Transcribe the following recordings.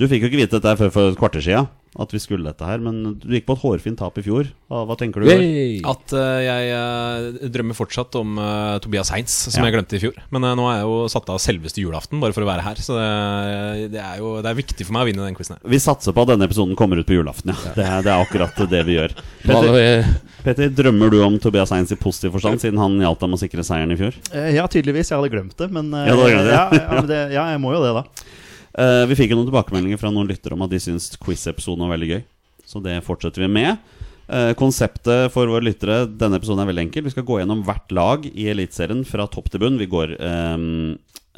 Du fikk jo ikke vite dette her før for et kvarter sia, at vi skulle dette her. Men du gikk på et hårfint tap i fjor. Hva, hva tenker du? i år? At eh, jeg eh, drømmer fortsatt om eh, Tobias Heinz, som Ja. jeg glemte i fjor. Men eh, nå er jeg jo satt av selveste julaften bare for å være her, så det, det er jo det er viktig for meg å vinne den quizen her. Vi satser på at denne episoden kommer ut på julaften, ja. Det er, det er akkurat det vi gjør. hva Petter, er det Petter, drømmer du om Tobias Heinz i positiv forstand, siden han hjalp deg med å sikre seieren i fjor? Eh, ja, tydeligvis. Jeg hadde glemt det, men eh, Ja, du hadde glemt det. ja, ja, men det, ja, jeg må jo det, da. Eh, vi fikk jo noen tilbakemeldinger fra noen lyttere om at de syns quiz-episoden var veldig gøy, så det fortsetter vi med. Eh, konseptet for våre lyttere denne episoden er veldig enkel. Vi skal gå gjennom hvert lag i Eliteserien fra topp til bunn. Vi går ehm,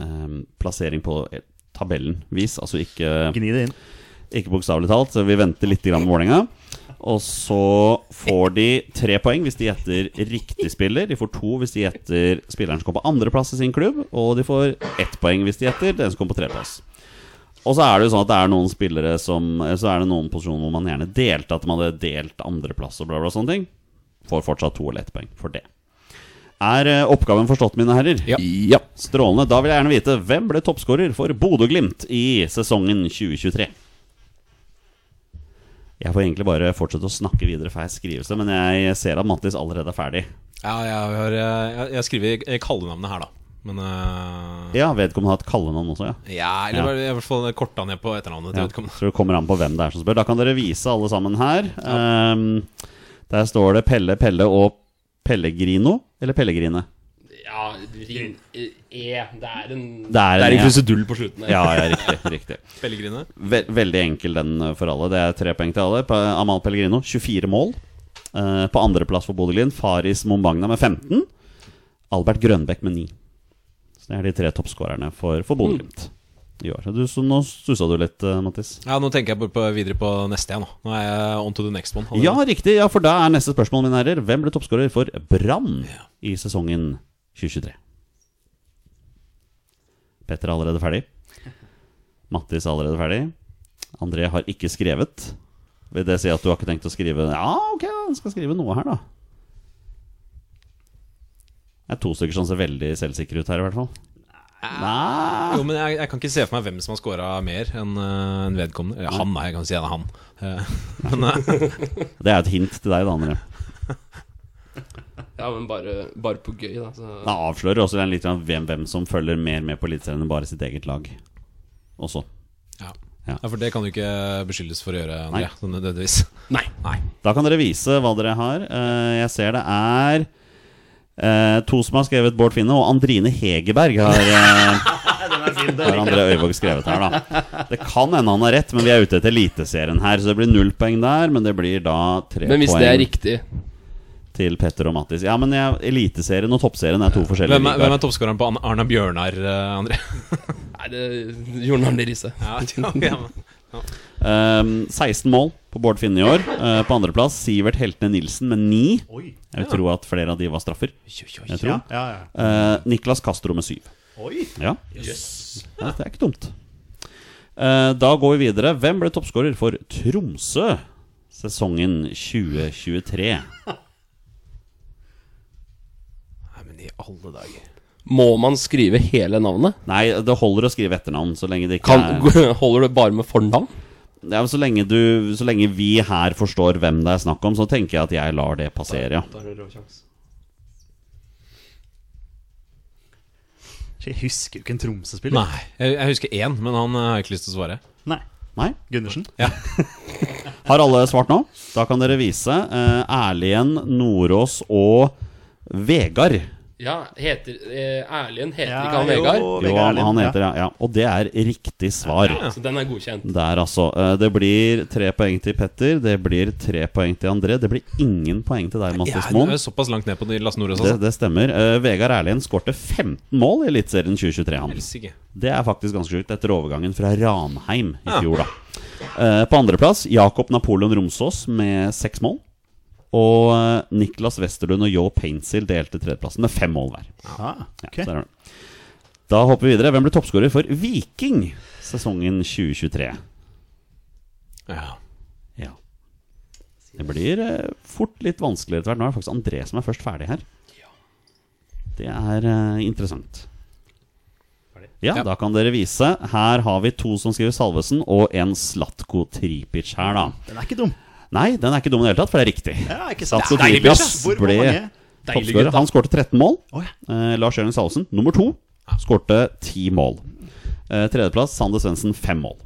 ehm, plassering på eh, tabellen-vis, altså ikke Gni det inn. Ikke bokstavelig talt, så vi venter litt grann med Vålerenga. Og så får de tre poeng hvis de gjetter riktig spiller. De får to hvis de gjetter spilleren som kom på andreplass i sin klubb. Og de får ett poeng hvis de gjetter den som kom på tredjeplass. Og så er det jo sånn at det er noen spillere som Så er det noen posisjoner hvor man gjerne delte at man hadde delt andreplass og bla, bla, sånne ting. Får fortsatt to eller ett poeng for det. Er eh, oppgaven forstått, mine herrer? Ja. Ja. Strålende. Da vil jeg gjerne vite hvem ble toppskårer for Bodø-Glimt i sesongen 2023? Jeg får egentlig bare fortsette å snakke videre for jeg skrives det, men jeg ser at Mattis allerede er ferdig. Ja, jeg, har, eh, jeg, jeg skriver eh, kallenavnet her, da. Men eh, Ja, vedkommende har et kallenavn også, ja. ja, Ja. eller bare- i hvert fall korta ned på etternavnet til ja. vedkommende. Så det kommer an på hvem det er som spør. Da kan dere vise alle sammen her. Ehm, der står det Pelle, Pelle og Pellegrino. Eller Pellegrine. Ja, ring E. Det er en Det er, en- krusedull på slutten Ja, ja, riktig. riktig. Pellegrine. Ve veldig enkel den eh, for alle. Det er tre poeng til alle. På eh, Amal Pellegrino 24 mål. Eh, på andreplass for Bodø-Glimt Faris Mombagna med 15. Albert Grønbekk med 9. Så det er de tre toppskårerne for, for Bodø-Glimt i år. Så, du, så nå stussa du litt, eh, Mattis. Ja, nå tenker jeg bare på, videre på neste, jeg nå. Nå er jeg on to the next one. allerede. Ja, riktig. Ja, for da er neste spørsmål, mine herrer. Hvem ble toppskårer for Brann i sesongen 2023? Petter er allerede ferdig. Mattis er allerede ferdig. André har ikke skrevet. Vil det si at du har ikke tenkt å skrive Ja, ok, han skal skrive noe her, da. Det er to stykker som ser veldig selvsikre ut her, i hvert fall. Nei Jo, men jeg, jeg kan ikke se for meg hvem som har scora mer enn eh, enn vedkommende. Eller han, da. Jeg kan si det er han. Eh, Men eh, Det er et hint til deg, da, André. Ja, men bare, bare på gøy, da. Så. Det avslører også den litt grann hvem, hvem som følger mer med på Eliteserien enn bare sitt eget lag. Også. ja. Ja. ja, for det kan du ikke beskyldes for å gjøre, André. Nei. Sånn nødvendigvis. Nei. Nei. Da kan dere vise hva dere har. Eh, Jeg ser det er eh, to som har skrevet Bård Finne, og Andrine Hegerberg har, eh, har André Øyvåg skrevet her, da. Det kan hende han har rett, men vi er ute etter Eliteserien her, så det blir null poeng der. Men det blir da tre Men hvis det er poeng riktig til Petter og Mattis. Ja, men jeg, Eliteserien og Toppserien er to forskjellige Hvem er, hvem ligaer. er toppskåreren på Arna Bjørnar, eh, André? Nei, det gjorde nemlig Riise. Ja, ja, ja, men- Ehm, 16 mål på Bård Finne i år. Eh, på andreplass Sivert Heltene Nilsen med 9. Oi. Jeg vil tro at flere av de var straffer. Oi, oi, oi. Jeg Ja, tror. ja, ja. Eh, Niklas Castro med 7. Oi. Ja. ja, det er ikke dumt. Eh, da går vi videre. Hvem ble toppskårer for Tromsø sesongen 2023? Nei, men i alle dager. Må man skrive hele navnet? Nei, det holder å skrive etternavn så lenge det ikke Kan, er holder det bare med fornavn? ja, men så, lenge du, så lenge vi her forstår hvem det er snakk om, så tenker jeg at jeg lar det passere, ja. Jeg husker jo ikke en Tromsø-spiller. Nei, jeg, jeg husker én, men han eh, har ikke lyst til å svare. Nei. Nei? Gundersen. Har alle svart nå? Da kan dere vise. Eh, Erlien, Nordås og Vegard. Ja, heter eh, Erlien heter Ja, ikke han jo, Vegard? Vegard Jo, han, Erlien, han ja. heter det, ja. Og det er riktig svar. Så den er godkjent. Der, altså. Eh, Det blir tre poeng til Petter. Det blir tre poeng til André. Det blir ingen poeng til deg, Ja, Mattis du Moen. er såpass langt ned på de Lasse Nordås, Det, altså. det stemmer. Eh, Vegard Erlien skårte 15 mål i Eliteserien 2023. Han. Helsike. Det er faktisk ganske sjukt etter overgangen fra Ranheim i Ja. fjor, da. Eh, på andreplass Jakob Napoleon Romsås med seks mål. Og eh, Niklas Westerlund og Joe Painsil delte tredjeplassen med fem mål hver. Ah, ok. Så der har du det. Da hopper vi videre. Hvem ble toppskårer for Viking sesongen 2023? Ja. Ja. Det blir eh, fort litt vanskeligere etter hvert. Nå er det faktisk André som er først ferdig her. Det er eh, interessant. Ja, Ja. da kan dere vise. Her har vi to som skriver Salvesen, og en Slatko Tripic her, da. Den er ikke dum. Nei, den er ikke dum i det hele tatt, for det er riktig. Ja, ikke sant. Slatko Deilig, Tripic ass. Hvor, hvor ble mange? Deilig toppskårer. gutt, da. Han skårte 13 mål. Å, ja. Eh, Lars Jørgen Salvesen, nummer to, skårte 10 mål. Eh, tredjeplass Sander Svendsen, 5 mål.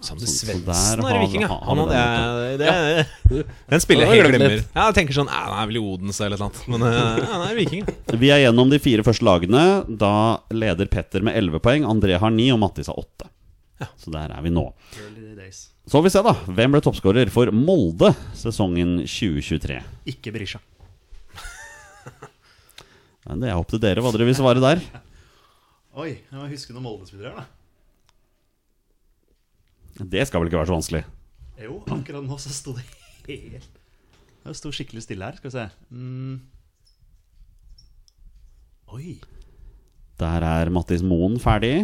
Sander Så- så Svendsen der er har- viking, ja. har- har Han vi hadde jeg det, Den Ja, spiller det jeg har helt jeg glemt glemmer. Ja, jeg tenker sånn "Nei, Han er vel i Odense eller noe sånt. Men eh, ja, han er viking, ja. Vi er gjennom de fire første lagene. Da leder Petter med 11 poeng, André har 9 og Mattis har 8. Så der er vi nå. Early days. Så får vi se, da. Hvem ble toppskårer for Molde sesongen 2023? Ikke Berisha. Men det er opp til dere hva dere vil svare der. Oi, jeg må huske noen Molde-spillere her, da. Det skal vel ikke være så vanskelig. Jo, akkurat nå så sto det helt Det sto skikkelig stille her. Skal vi se. Mm. Oi. Der er Mattis Moen ferdig.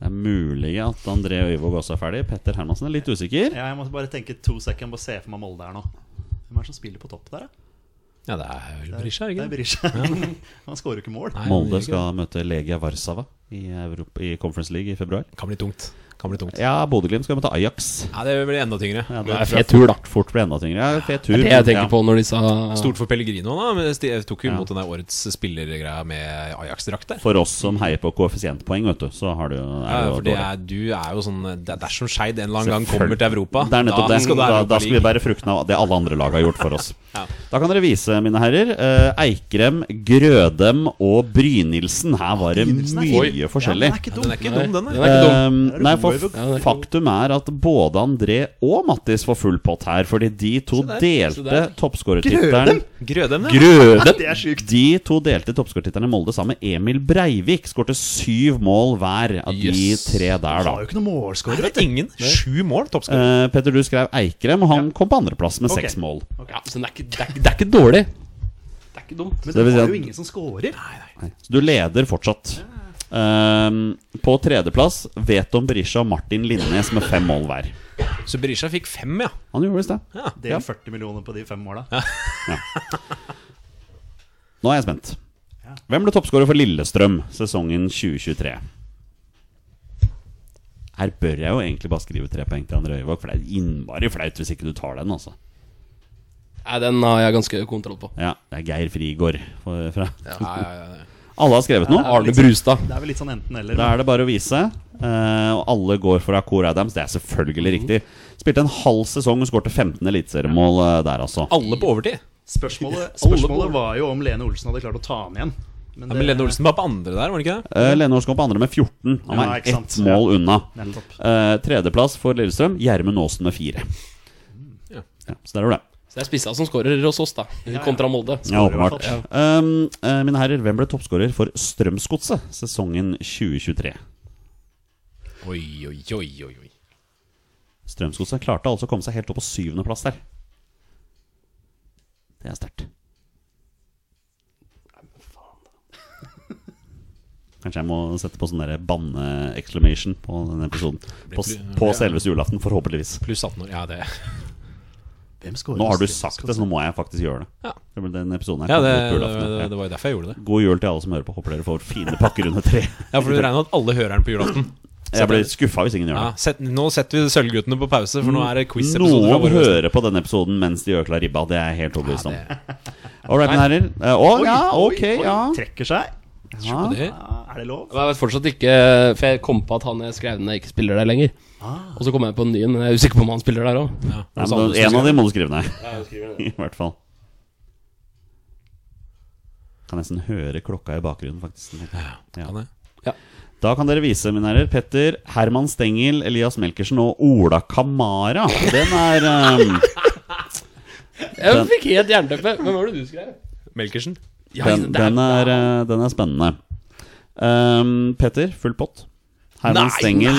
Det er mulig at André Øyvåg også er ferdig. Petter Hermansen er litt usikker. Ja, jeg må bare tenke to sekunder på å se for meg Molde her nå. Hvem er det som spiller på topp der, da? Ja, det er vel Berisha, er Det er det ikke det? Berisha. Han skårer jo ikke mål. Nei, det Molde er ikke skal møte Legia Warszawa i, Europa, i Conference League i februar. det. Kan bli tungt. Kan bli tungt. Ja, Bodø-Glimt skal møte Ajax. Ja, det blir enda tyngre. Ja, Det er tror jeg fet tur, da. Fort blir enda tyngre. Ja, fet tur. Det er det jeg Ja. tenker på når disse Stort. Stort for Pellegrino, da. Men de tok jo imot den der årets spillergreia med Ajax-drakt der. For oss som heier på koeffisientpoeng, vet du, så har du, er det Ja, jo for det dårlig. er, du er jo sånn Det er dersom Skeid en eller annen gang kommer til Europa, Det er nettopp da det. skal du ha da, Europa da skal vi League. bære frukten av det alle andre lag har gjort for oss. Ja. Da kan dere vise, mine herrer. eh, Eikrem, Grødem og Brynildsen. Her var det Brynildsen er mye fin. forskjellig. Ja, den er ikke dum. Den er ikke dum, den. Den der. er ikke dum. Ehm, nei, for Ja, det er- Faktum er at både André og Mattis får full pott her, fordi de to delte toppskårertittelen. Grødem, det. Grødem! Det er sjukt. De to delte toppskårertittelen i Molde sammen med Emil Breivik. Skårte syv mål hver av de Yes. tre der, da. Han har jo ikke noen målskårer, Det vet du. er ingen. Sju mål, toppskårer. Eh, Petter, du skrev Eikrem, og han kom på andreplass med seks mål. Ja, så den er ikke, det, er, ikke- det er ikke dårlig. Det er ikke dumt. det Men det vil si var at- jo ingen som scorer. Så du leder fortsatt. Ehm, på tredjeplass Veton Berisha og Martin Linnes med fem mål hver. Så Berisha fikk fem, ja. Han gjorde visst det. Det Ja. er 40 millioner på de fem måla. Nå er jeg spent. Hvem ble toppskårer for Lillestrøm sesongen 2023? Her bør jeg jo egentlig bare skrive tre poeng til André Øyvåg, for det er innmari flaut hvis ikke du tar den, altså. Nei, den har jeg ganske kontroll på. Ja, det er Geir Frigård for- fra Ja, ja, ja, ja. Alle har skrevet noe. Arne Brustad. Det er vel litt sånn enten-eller. Da er det bare å vise. eh, og alle går for Akor Adams. Det er selvfølgelig riktig. Spilte en halv sesong og skårte 15 eliteseriemål eh, der, altså. Alle på overtid. Spørsmålet, spørsmålet var jo om Lene Olsen hadde klart å ta ham igjen. Ja, men Lene Olsen var på andre der, var han ikke det? Uh, Lene Års kom på andre med 14. Han Ja, er ikke ett sant. mål unna. Nettopp. Eh, tredjeplass for Lillestrøm, Gjermund Aasen med fire. Ja. Ja, så der er det. Så det er spissa som skårer hos oss, da. Kontra Molde. Ja, åpenbart. i Um, eh, mine herrer, hvem ble toppskårer for Strømsgodset sesongen 2023? Oi, oi, oi, oi, oi. Strømsgodset klarte altså å komme seg helt opp på syvendeplass der. Det er sterkt. Kanskje jeg må sette på sånn der banne-exclamation på denne episoden. På, s- på selveste julaften, forhåpentligvis. Pluss 18 år. Ja, det Hvem scorer Nå har du mest sagt det, Strømsgodset? så nå må jeg faktisk gjøre Ja. det. Det blir Den episoden her Ja, det, kommer på det, julaften. det, det var jo derfor jeg gjorde det. God jul til alle som hører på. Håper dere får fine pakker under tre. Ja, For du regner med at alle hører den på julaften? Jeg blir skuffa hvis ingen gjør Ja, det. sett, nå setter vi Sølvguttene på pause, for nå er det quiz-episode. Noen fra våre- hører på denne episoden mens de økla ribba. Det er jeg helt overbevist om. Ja, det- All right, mine herrer. Eh, Å Oi, ja, oi, ok, oi, ja. Trekker seg. ja. det. Ja, Er det lov? Jeg vet fortsatt ikke For jeg kom på at han jeg skrev ned, ikke spiller der lenger. Og så kom jeg på en ny en. men Jeg er usikker på om han spiller der òg. Ja. Nei, men En av dem må du skrive ned. I hvert fall. Kan nesten høre klokka i bakgrunnen, faktisk. Kan jeg? Da kan dere vise, mine herrer. Petter Herman Stengel, Elias Melkersen og Ola Kamara. Den er ehm, Jeg fikk helt jernteppe. Hvem var det du skrev? Melkersen? den, den, er, eh, den er spennende. Ehm, Petter, full pott. Herman Stengel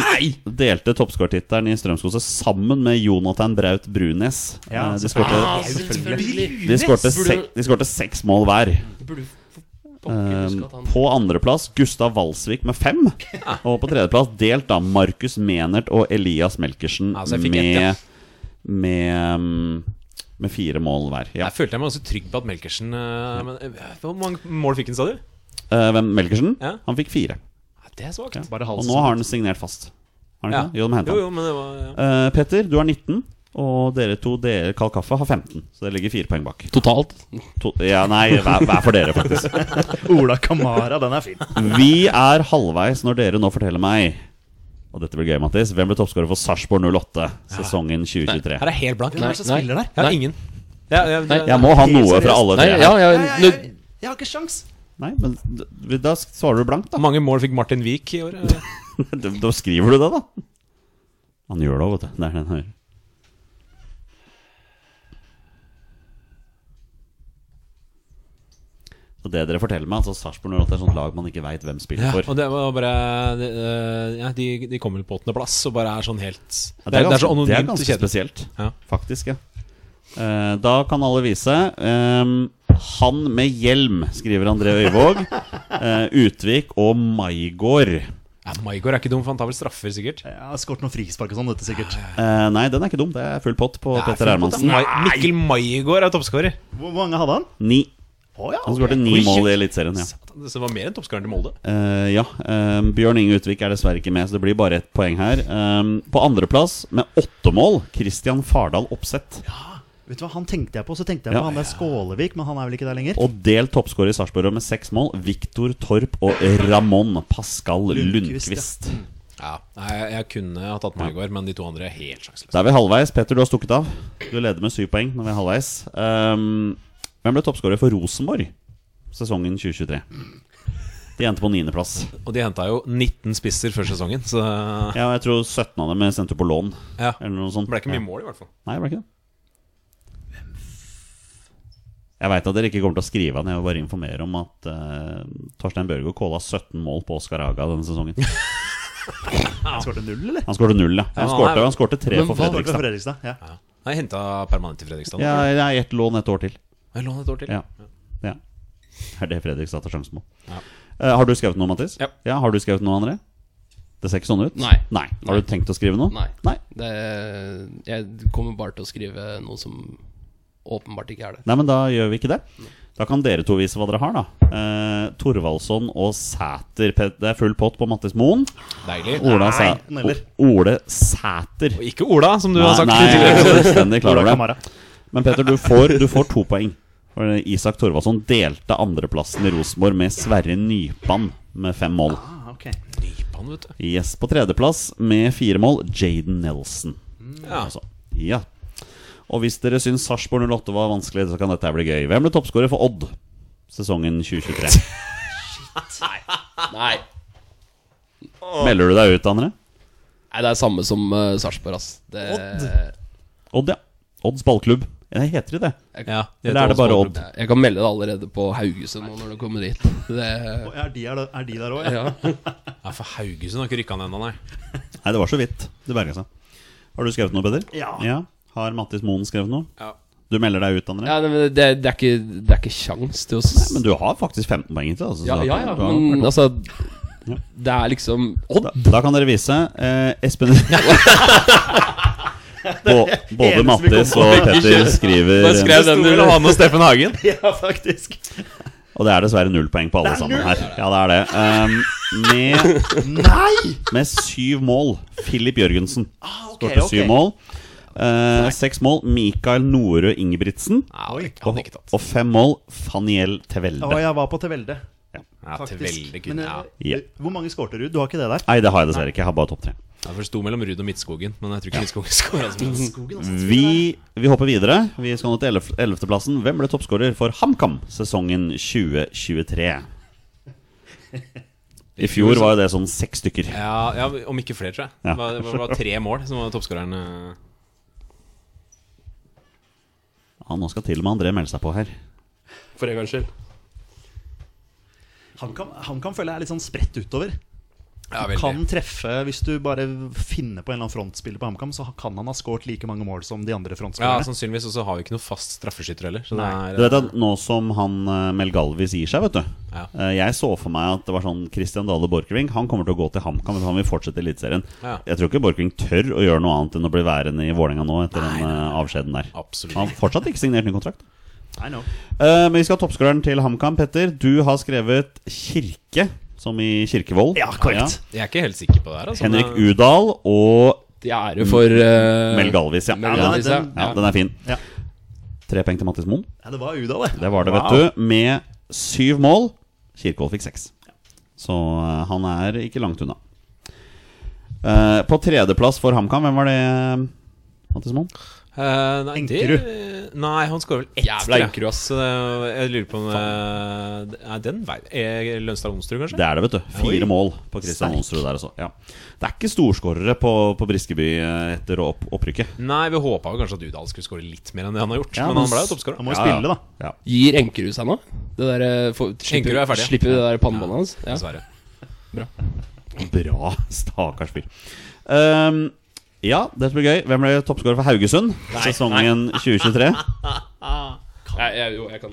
delte toppskårtittelen i Strømsgodset sammen med Jonathan Braut Brunes. Ja, Eh, de selvfølgelig. Ah, skårte Ah, De skårte, sek, de skårte seks mål hver. Pokker, Um, på andreplass Gustav Walsvik med fem. Og på tredjeplass delt da Markus Menert og Elias Melkersen Altså, jeg fikk ett, ja. med, med, um, med fire mål hver. Ja. Jeg følte jeg meg ganske trygg på at Melkersen eh, men, eh, Hvor mange mål fikk han, sa du? Eh, hvem? Melkersen? Ja. Han fikk fire. Ja, Det er svakt. Bare Og halsen. nå har han signert fast. Har han Ja. ikke? det? Jo, de hentet Jo, han. jo, men det var ja. Eh, Petter, du har 19. Og dere to, dere, Karl Kaffe, har 15. Så det ligger fire poeng bak. Totalt. To, ja, nei, hver, hver for dere, faktisk. Ola Kamara, den er fin. Vi er halvveis når dere nå forteller meg Og dette blir gøy, Mattis Hvem ble toppskårer for Sarpsborg 08 sesongen Her 2023? er helt blank. Hvem er Nei, det som nei. spiller der? Jeg har Nei. ingen. Ja, ja, Nei. Jeg må ha noe fra alle Nei, tre ja, her. ja, Jeg, nu, jeg, jeg, har ikke sjans. Nei, men d- da svarer du blankt da Hvor mange mål fikk Martin Wiik i år? eh? Da da skriver du det da Han gjør det også, vet du Det er den her Så det dere forteller meg Altså Sarpsborg 08 er et sånt lag man ikke vet hvem spiller Ja, for og det var bare de, eh, ja, de, de kom vel på åttendeplass og bare er sånn helt Ja, det, er ganske, så det er anonymt og ganske kjedelig. spesielt, Ja. faktisk. ja Eh, Da kan alle vise. Eh, han med hjelm, skriver André Øyvåg. Eh, Utvik og Maigård. Ja, Maigård er ikke dum, for han tar vel straffer, sikkert. Jeg har skåret noen frispark og sånn, dette sikkert. Eh, nei, den er ikke dum. Det er full pott på Det er Petter fullt godt, Hermansen. da. Mai- Mikkel Maigård er toppskårer. Hvor mange hadde han? Ni. Å ja. Han skåret ni Oi, mål i shit. Eliteserien. Ja. Satan, Så det var mer enn toppskåreren til Molde. Eh, ja. eh, Bjørn Inge Utvik er dessverre ikke med, så det blir bare ett poeng her. Um, på andreplass, med åtte mål, Christian Fardal Opseth. Vet du hva, Han tenkte jeg på, så tenkte jeg Ja. på han der Skålevik, men han er vel ikke der lenger? Og delt toppskårer i Sarpsborg med seks mål, Viktor Torp og Ramón Pascal Lundqvist, ja. Lundqvist. Ja, nei, jeg, jeg kunne ha tatt Maigård, men de to andre er helt sjanseløse. Da er vi halvveis. Petter, du har stukket av. Du leder med syv poeng når vi er halvveis. Ehm, hvem ble toppskårer for Rosenborg sesongen 2023? De endte på niendeplass. Og de henta jo 19 spisser før sesongen, så Ja, og jeg tror 17 av dem er sendt ut på lån. ja. Eller noe sånt. Det ble ikke Ja. mye mål, i hvert fall. Nei, det ble ikke det. Jeg veit at dere ikke kommer til å skrive han, jeg vil bare informere om at eh, Torstein Børgo kåla 17 mål på Oscar Haga denne sesongen. Han skårte null, eller? Han skårte null, ja. Han Ja, skårte, nei. han skårte tre Men for hva- Han skårte for Fredrikstad. Fredrikstad, ja. Ja. Nei, henta permanent i Fredrikstad. Ja, nå. det er ett lån et år til. Jeg låner et år til. Ja. ja. Det er det Fredrikstad tar sjansen på. Ja. Eh, har du skrevet noe, Mattis? Ja. Har du skrevet noe, André? Det ser ikke sånn ut? Nei. Har du tenkt å skrive noe? Nei. Det, jeg kommer bare til å skrive noe som åpenbart ikke er det. Nei, men da gjør vi ikke det. Da kan dere to vise hva dere har, da. Eh, Thorvaldsson og Sæter. Pet- Det er full pott på Mattis Moen. Deilig. Ola Sæ den heller. O- Ole Sæter. Og ikke Ola, som du har sagt. nei, jeg tidligere. er fullstendig klar Ola over det. Kamara. Men Petter, du får, du får to poeng. For Isak Thorvaldsson delte andreplassen i Rosenborg med Sverre Nypan med fem mål. Ah, ok. Nypan, vet du. Yes, På tredjeplass med fire mål, Jaden Nelson. Ja. Altså, ja. Og hvis dere syns Sarpsborg 08 var vanskelig, så kan dette her bli gøy. Hvem ble toppskårer for Odd sesongen 2023? Nei, Melder du deg ut, André? Nei det er samme som uh, Sarpsborg, ass. Det, Odd, ja. Odds ballklubb. Nei, heter de det? Ja, det Eller er det bare Odd? Jeg kan melde det allerede på Haugesund nå når du kommer dit. Det, Og Er de, er, er de der òg? Ja. ja. Ja, for Haugesund har ikke rykka ned ennå, nei. Nei, det var så vidt. Det berga seg. Har du skrevet noe, Peder? Ja. Har Mattis Moen skrevet noe? Ja. Du melder deg ut, André? Ja, men det, det, er ikke, det er ikke sjans til å s- Men du har faktisk 15 poeng til. Altså, så Ja, da- ja, ja, da- men altså Det er liksom Odd! da, da kan dere vise eh, Espen Bå- Både vi Mattis kom og Petter skriver Bare skrev den du ville ha. Han og Steffen Hagen. Ja, faktisk. Og det er dessverre null poeng på alle Det er sammen null! her. Ja, det er det. Um, med, Nei! med syv mål, Filip Jørgensen. Ah, ok, Skårte syv ok. mål. Eh, seks mål, Mikael Norø Ingebrigtsen. Nei, han Og, hadde ikke tatt. og fem mål, Faniel Tevelde. Å, jeg var på Tevelde, Ja, til faktisk. veldig kun, Men, ja. eh, Ja. Hvor mange skårte du? Du har ikke det der? Nei, det har jeg dessverre ikke. Jeg har bare topp tre. Ja, for Det sto mellom Ruud og Midtskogen, men jeg tror ikke Midtskogen skåra så mye. Skogen, Vi, vi hopper videre. Vi skal nå til 11. ellevteplassen. Hvem ble toppskårer for HamKam sesongen 2023? I fjor var jo det sånn seks stykker. Ja, ja, om ikke flere, tror jeg. Ja. Det var, det var tre mål som var toppskåreren. eh. Ja, nå skal til og med André melde seg på her. For en gangs skyld. Han kan, han kan føle jeg er litt sånn spredt utover. Ja, Du kan treffe Hvis du bare finner på en eller annen frontspiller på HamKam, så kan han ha skåret like mange mål som de andre Ja, frontspillerne. sannsynligvis. Og så har vi ikke noe fast straffeskytter heller. Så det Du er, vet at Nå som han eh, Melgalvis gir seg, vet du Ja. Eh, Jeg så for meg at det var sånn Christian Dale Borchgrevink Han kommer til å gå til HamKam. men Han vil fortsette i Eliteserien. Ja. Jeg tror ikke Borchgrevink tør å gjøre noe annet enn å bli værende i Vålerenga nå etter den eh, avskjeden der. Absolutt. Han har fortsatt ikke signert ny kontrakt. I know. Eh, men vi skal ha toppskåreren til HamKam. Petter, du har skrevet 'Kirke', som i Kirkevold. Ja, korrekt. Jeg er ikke helt sikker på det her. Ja. Altså, Henrik men- Udal og Til ære for uh, Mel Galvis. Ja. Mel Ja, Galvis, den- ja. den- ja, den er fin. Ja. Tre poeng til Mattis Moen. Ja, det var Udal, det. Det var det, vet Wow. du. Med syv mål. Kirkevold fikk seks. Så eh, han er ikke langt unna. Eh, på tredjeplass for HamKam, hvem var det, Mattis Moen? Eh, nei, Enkerud. det- Nei, han skårer vel ett. Jævla tror jeg. Enkerud, ass. Så det- jeg lurer på om eh, Nei, den vei eh, Lønstad Onsrud, kanskje? Det er det, vet du. Fire Oi. mål på Christian Onsrud der også. Ja. Det er ikke storskårere på, på Briskeby eh, etter opp, opprykket. Nei, vi håpa kanskje at Udal skulle skåre litt mer enn det han har gjort. Ja, men men han ble s- jo toppskårer. Han må jo Ja, ja. spille, da. Ja. Gir Enkerud seg nå? Det der, eh, for, slipper, Enkerud er ferdig, ja. Slipper det der pannebåndet hans? Ja. Dessverre. Bra. Stakkars fyr. Ehm, ja, dette blir gøy. Hvem ble toppskårer for Haugesund sesongen 2023? Jeg, jeg, jo, jeg kan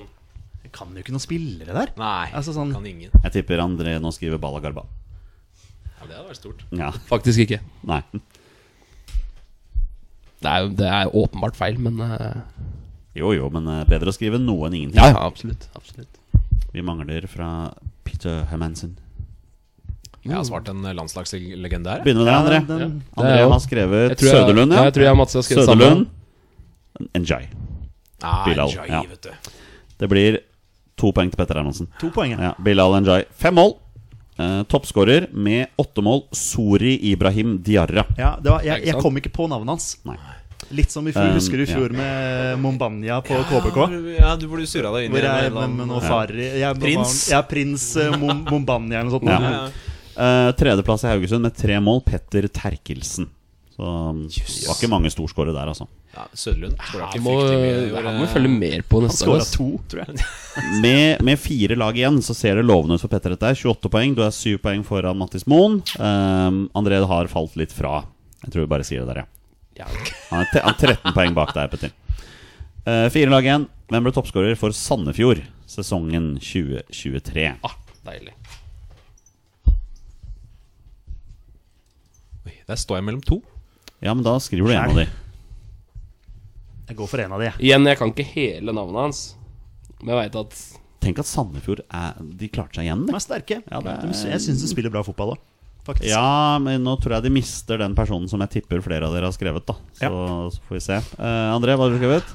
Jeg kan jo ikke noen spillere der. Nei, Altså sånn- kan ingen. Jeg tipper André nå skriver Bala Garba. Ja, det hadde vært stort. Ja, faktisk ikke. nei. Det er, jo- det er åpenbart feil, men eh, Jo jo, men eh, bedre å skrive noe enn ingenting. Ja, ja, absolutt. absolutt. Vi mangler fra Peter Hermansen. Jeg har svart en landslagslegende her. jeg. Begynner med deg, André. Ja, den- André Det er jo- har skrevet Jeg tror jeg- Søderlund, ja, jeg tror jeg og Mats har skrevet Søderlund. Enjoy. Ah, Bilal, Jai, ja. vet du. Det blir to poeng til Petter Hermansen. To poeng. ja. Ja, Bilal Enjay. Fem mål. Eh, Toppskårer med åtte mål, Sori Ibrahim Diarra. Ja, det var, jeg, Ikke jeg sant? kom ikke på navnet hans. Nei. Litt som i fjor, Um, husker du i fjor med Mombania på KBK? Ja, du burde surra deg inn Hvor jeg eller med, med annen- noe farri jeg, Prins? Ja, prins eh, Mom, Mombania eller noe sånt. Ja. Ja, ja. Eh, tredjeplass i Haugesund med tre mål, Petter Terkelsen. Så um, Jøss. det var ikke mange storskårere der, altså. Ja, Søderlund skåra ikke Han må, fryktelig mye. i år, han må eh. følge mer på Han neste år. skåra ass. to, tror jeg. Med, med fire lag igjen så ser det lovende ut for Petter dette. her. 28 poeng. Du er 7 poeng foran Mattis Moen. Um, André har falt litt fra. Jeg tror vi bare sier det der, ja. Ja. Han er, te han er 13 poeng bak deg, Petter. Eh, fire lag igjen. Hvem ble toppskårer for Sandefjord sesongen 2023? Ah, deilig. Oi, Der står jeg mellom to. Ja, men da skriver du en av de. Jeg går for en av de, jeg. Igjen, jeg kan ikke hele navnet hans, men jeg veit at Tenk at Sandefjord er, de klarte seg igjen. De det. er sterke. Ja, det er- De- Jeg syns de spiller bra fotball òg, faktisk. Ja, men nå tror jeg de mister den personen som jeg tipper flere av dere har skrevet. da Så, så får vi se. Eh, André, hva har du skrevet?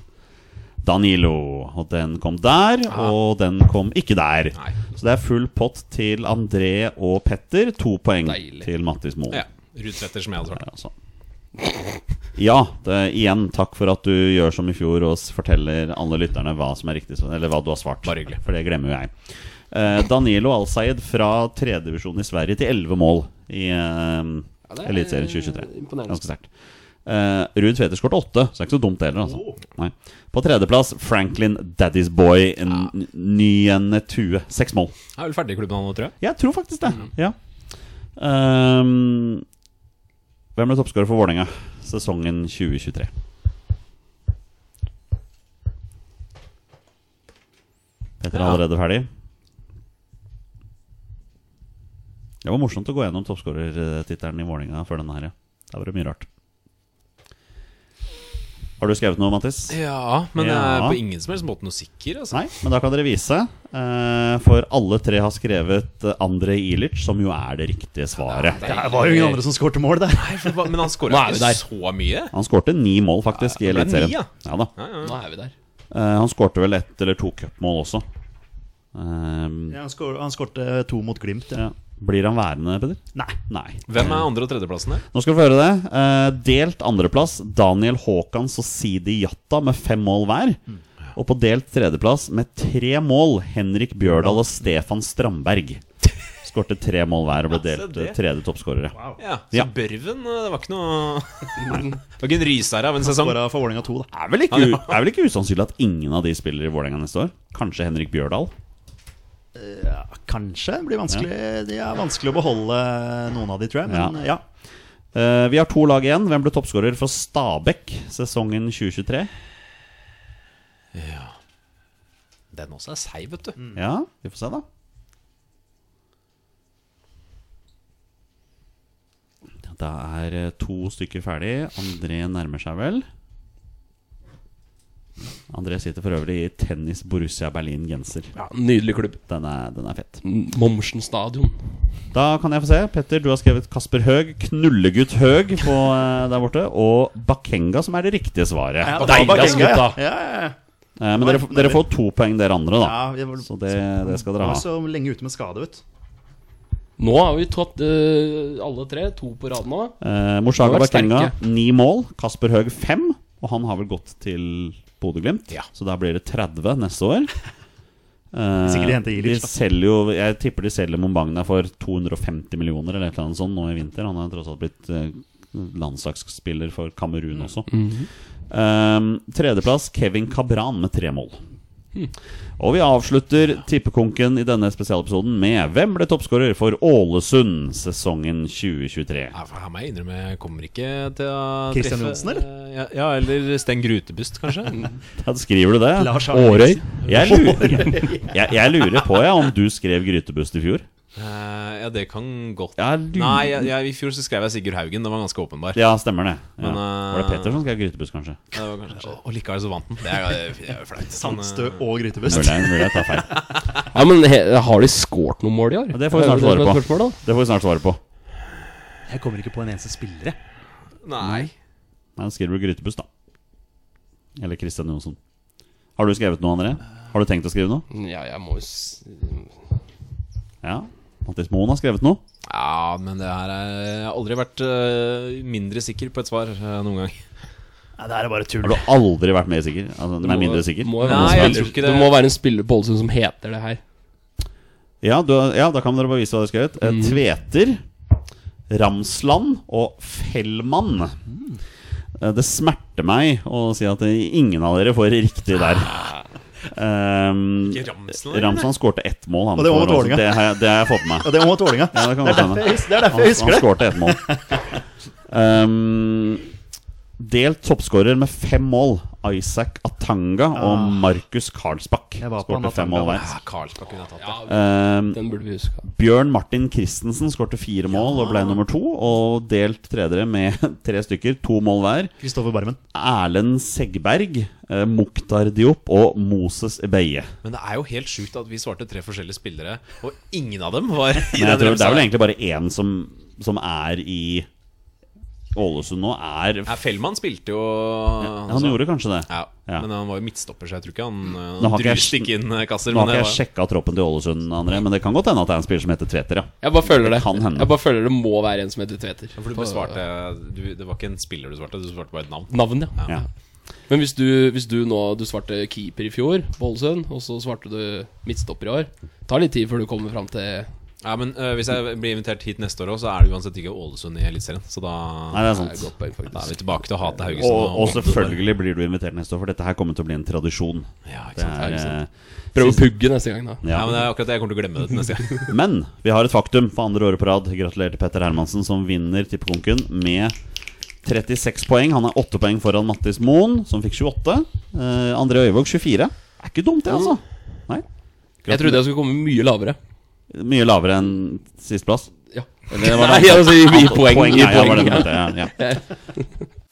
Danilo. Og den kom der, og den kom ikke der. Nei. Så det er full pott til André og Petter. To poeng Deilig. til Mattis Moen. Ja, Rudtvetter, som jeg hadde svart. Ja, sånn. Ja, det, igjen takk for at du gjør som i fjor og s- forteller alle lytterne hva som er riktig, så- eller hva du har svart. Bare hyggelig. For det glemmer jo jeg. Eh, Danilo Alsaid fra tredjedivisjon i Sverige til elleve mål i Ja, det eh, er Eliteserien 2023. imponerende. Ganske sterkt. Eh, Ruud Tveter skåret åtte, så det er ikke så dumt det heller. Oh. Altså. Nei. På tredjeplass Franklin Daddy's Boy N- Nyenetue. Seks mål. Jeg er vel ferdig i klubben han nå, tror jeg. Jeg tror faktisk det. Ja. Ehm, Hvem ble toppskårer for Vålerenga sesongen 2023? Petter er allerede ferdig. Det var morsomt å gå gjennom toppskårertittelen i Vålerenga før denne her, ja. Der var det mye rart. Har du skrevet noe, Mattis? Ja, men eh, jeg er Ja. på ingen som helst måte noe sikker. Altså. Nei, men da kan dere vise. Eh, for alle tre har skrevet eh, Andrej Ilic, som jo er det riktige svaret. Det var jo ingen andre som skårte mål der. Nei, for hva- Men han skårer Nå er vi ikke der. så mye. Han skårte ni mål, faktisk, i Ja, det er Eliteserien. ni, ja. Ja, da. Ja, ja. Nå er vi der. Eh, han skårte vel ett eller to cupmål også. Eh, Ja, han, skår, han skårte to mot Glimt. Ja. ja. Blir han værende, Peder? Nei. Nei. Hvem er andre- og tredjeplassen der? Nå skal vi få høre det. Eh, delt andreplass Daniel Haakons og Sidi Jatta med fem mål hver. Mm. Og på delt tredjeplass med tre mål Henrik Bjørdal og Stefan Strandberg. Skårte tre mål hver og ble Ja, se delt det. eh, tredje toppskårere. Ja, så Ja. Børven eh, Det var ikke noe Det var ikke en ryser av en sesong. Skåra for Vålerenga 2, da. Er vel ikke, u- er vel ikke usannsynlig at ingen av de spiller i Vålerenga neste år? Kanskje Henrik Bjørdal? Ja, kanskje. Det blir vanskelig Det er vanskelig å beholde eh, noen av de, tror jeg. Men ja. Eh, vi har to lag igjen. Hvem ble toppskårer for Stabæk sesongen 2023? Den også er seig, vet Mm. du. Ja, vi får se, da. Da er eh, to stykker ferdig. André nærmer seg vel. André sitter for øvrig i tennis Borussia Berlin-genser. Ja, nydelig klubb. Den, er- den er fet. Mommsen stadion. Da kan jeg få se. Petter, du har skrevet Kasper Høeg, knullegutt Høeg på, eh, der borte, og Bakenga, som er det riktige svaret. Ja, det Deilig, var altså, ass, Bakenga, gutta. Ja, ja, ja. Eh, men dere, f- dere får to poeng, dere andre, da. Ja, vi var- Så det, det skal Han dere var ha. så lenge ute med skade, vet du. Nå har vi tatt eh, alle tre, to på rad nå. Eh, Morsaga Dere var Bakenga sterke. ni mål. Kasper Høeg fem. Og han har vel gått til Bodø-Glimt, Ja. så der blir det 30 neste år. Eh, Sikkert de henter Ilic, de da. selger jo Jeg tipper de selger Mombagna for 250 millioner eller et eller annet sånt nå i vinter. Han er tross alt blitt eh, landslagsspiller for Kamerun også. Mm. Mm-hmm. Eh, tredjeplass Kevin Cabran med tre mål. Og vi avslutter tippekonken i denne spesialepisoden med Hvem ble toppskårer for Ålesund sesongen 2023? Ja, for her må jeg innrømme, jeg kommer ikke til å Christian Johnsen, eller? Mm. Eh, Ja, ja, eller Sten Grutebust, kanskje. Ja, skriver du det? Lars Arne Årøy? Nilsen. Jeg lurer, jeg, jeg lurer på ja, om du skrev Grytebust i fjor. Eh, ja, det kan godt Jeg lurer. Nei, jeg, jeg, i fjor så skrev jeg Sigurd Haugen. Den var ganske åpenbar. Ja, stemmer det. Ja. Men, eh, Var det Peter som skrev Grytebust, kanskje? Det var kanskje, og likevel så vant den. Det er jo- det er jo flaut. men, eh, Sandstø og Grytebust. Mulig jeg- mulig jeg tar feil. Ja, men he, Har de skåret noen mål i år? Ja, Det får vi snart svare var på. et spørsmål, da. Det får vi snart svare på. Jeg kommer ikke på en eneste spiller, jeg. Mm. Nei. Nei, da skriver du Grytebust, da. Eller Kristian Johnsen. Har du skrevet noe, André? Har du tenkt å skrive noe? Ja, jeg må jo s- Ja. Mattis Moen har skrevet noe. Ja, men det her er Jeg har aldri vært eh, mindre sikker på et svar eh, noen gang. Nei, det her er bare tull. Har du aldri vært mer sikker? Altså, nei, mindre sikker? Må, jo være Nei, en jeg spiller- tror ikke det. det må være en spiller på Ålesund som heter det her. Ja, du, har- ja, da kan dere bare vise hva dere har skrevet. Mm. Eh, Tveter, Ramsland og Fellmann. Eh, Det smerter meg å si at ingen av dere får det riktig der. Um, Ah. Ikke Ramsland, eller? Ramsland skårte ett mål. Han Og det for var mot Ålesund. Vålerenga. det, har jeg, det har jeg fått med meg. Ja, det var mot Vålerenga. Ja, det kan det er godt hende. derfor jeg hus- det er derfor Han, jeg han husker skårte det. ett mål. Um, delt toppskårer med fem mål. Isaac Atanga og Markus Karlsbakk Ah. Jeg var på han skårte fem Atanga. mål hver. Ja, Karlsbakk kunne jeg tatt det. Um, Den burde vi huske. Bjørn Martin Christensen skårte fire mål og ble nummer to. Og delt tredjere med tre stykker, to mål hver. Kristoffer Barmen. Erlend Segberg, eh, Mukhtar Diop og Moses Ebeye. Men det er jo helt sjukt at vi svarte tre forskjellige spillere, og ingen av dem var i Men jeg den tror det er vel remsa. egentlig bare én som, som er i Ålesund nå. Er Ja, Fellmann spilte jo sånn. Han gjorde kanskje det. Ja, Ja. men han var jo midtstopper, så jeg tror ikke han, eh, Nå han har ikke jeg druste ikke inn eh, kasser. Nå har Men ikke jeg det var, sjekka troppen til Ålesund, André, men det kan godt hende at det er en spiller som heter Tveter, ja. Jeg bare føler det. kan hende. Jeg bare føler det må være en som heter Tveter. for du besvarte du, Det var ikke en spiller du svarte, du svarte bare et navn. Navn, ja. ja. Men hvis du, hvis du nå Du svarte keeper i fjor på Ålesund, og så svarte du midtstopper i år. Det tar litt tid før du kommer fram til Ja, men øh, Hvis jeg blir invitert hit neste år òg, så er det uansett ikke Ålesund i Eliteserien. Så da, Nei, det er sant. Godt poeng, da faktisk. er sånn vi tilbake til å hate Haugesund. Og, og selvfølgelig blir du invitert neste år, for dette her kommer til å bli en tradisjon. Ja, ikke Det sant? er, ikke sant. eh, Prøv å pugge neste gang, da. Ja, ja. men det er akkurat det. Jeg kommer til å glemme det til neste gang. Men vi har et faktum for andre året på rad. Gratulerer til Petter Hermansen, som vinner tippekonken med 36 poeng. Han er 8 poeng foran Mattis Moen, som fikk 28. Eh, André Øyvåg 24. Det er ikke dumt, det, altså. Nei. Jeg trodde jeg skulle komme mye lavere. Mye lavere enn sisteplass. Ja. Eller var det Nei, altså, i, i poeng. Poeng, i ja, ja, var det poeng, det ja. heter, ja, ja.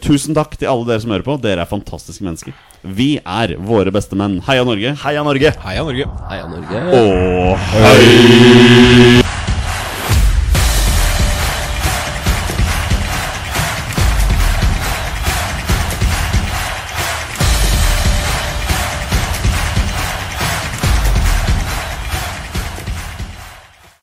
Tusen takk til alle dere som hører på. Dere er fantastiske mennesker. Vi er våre beste menn. Heia Norge. Heia Norge! Heia Norge. Heia Norge. Og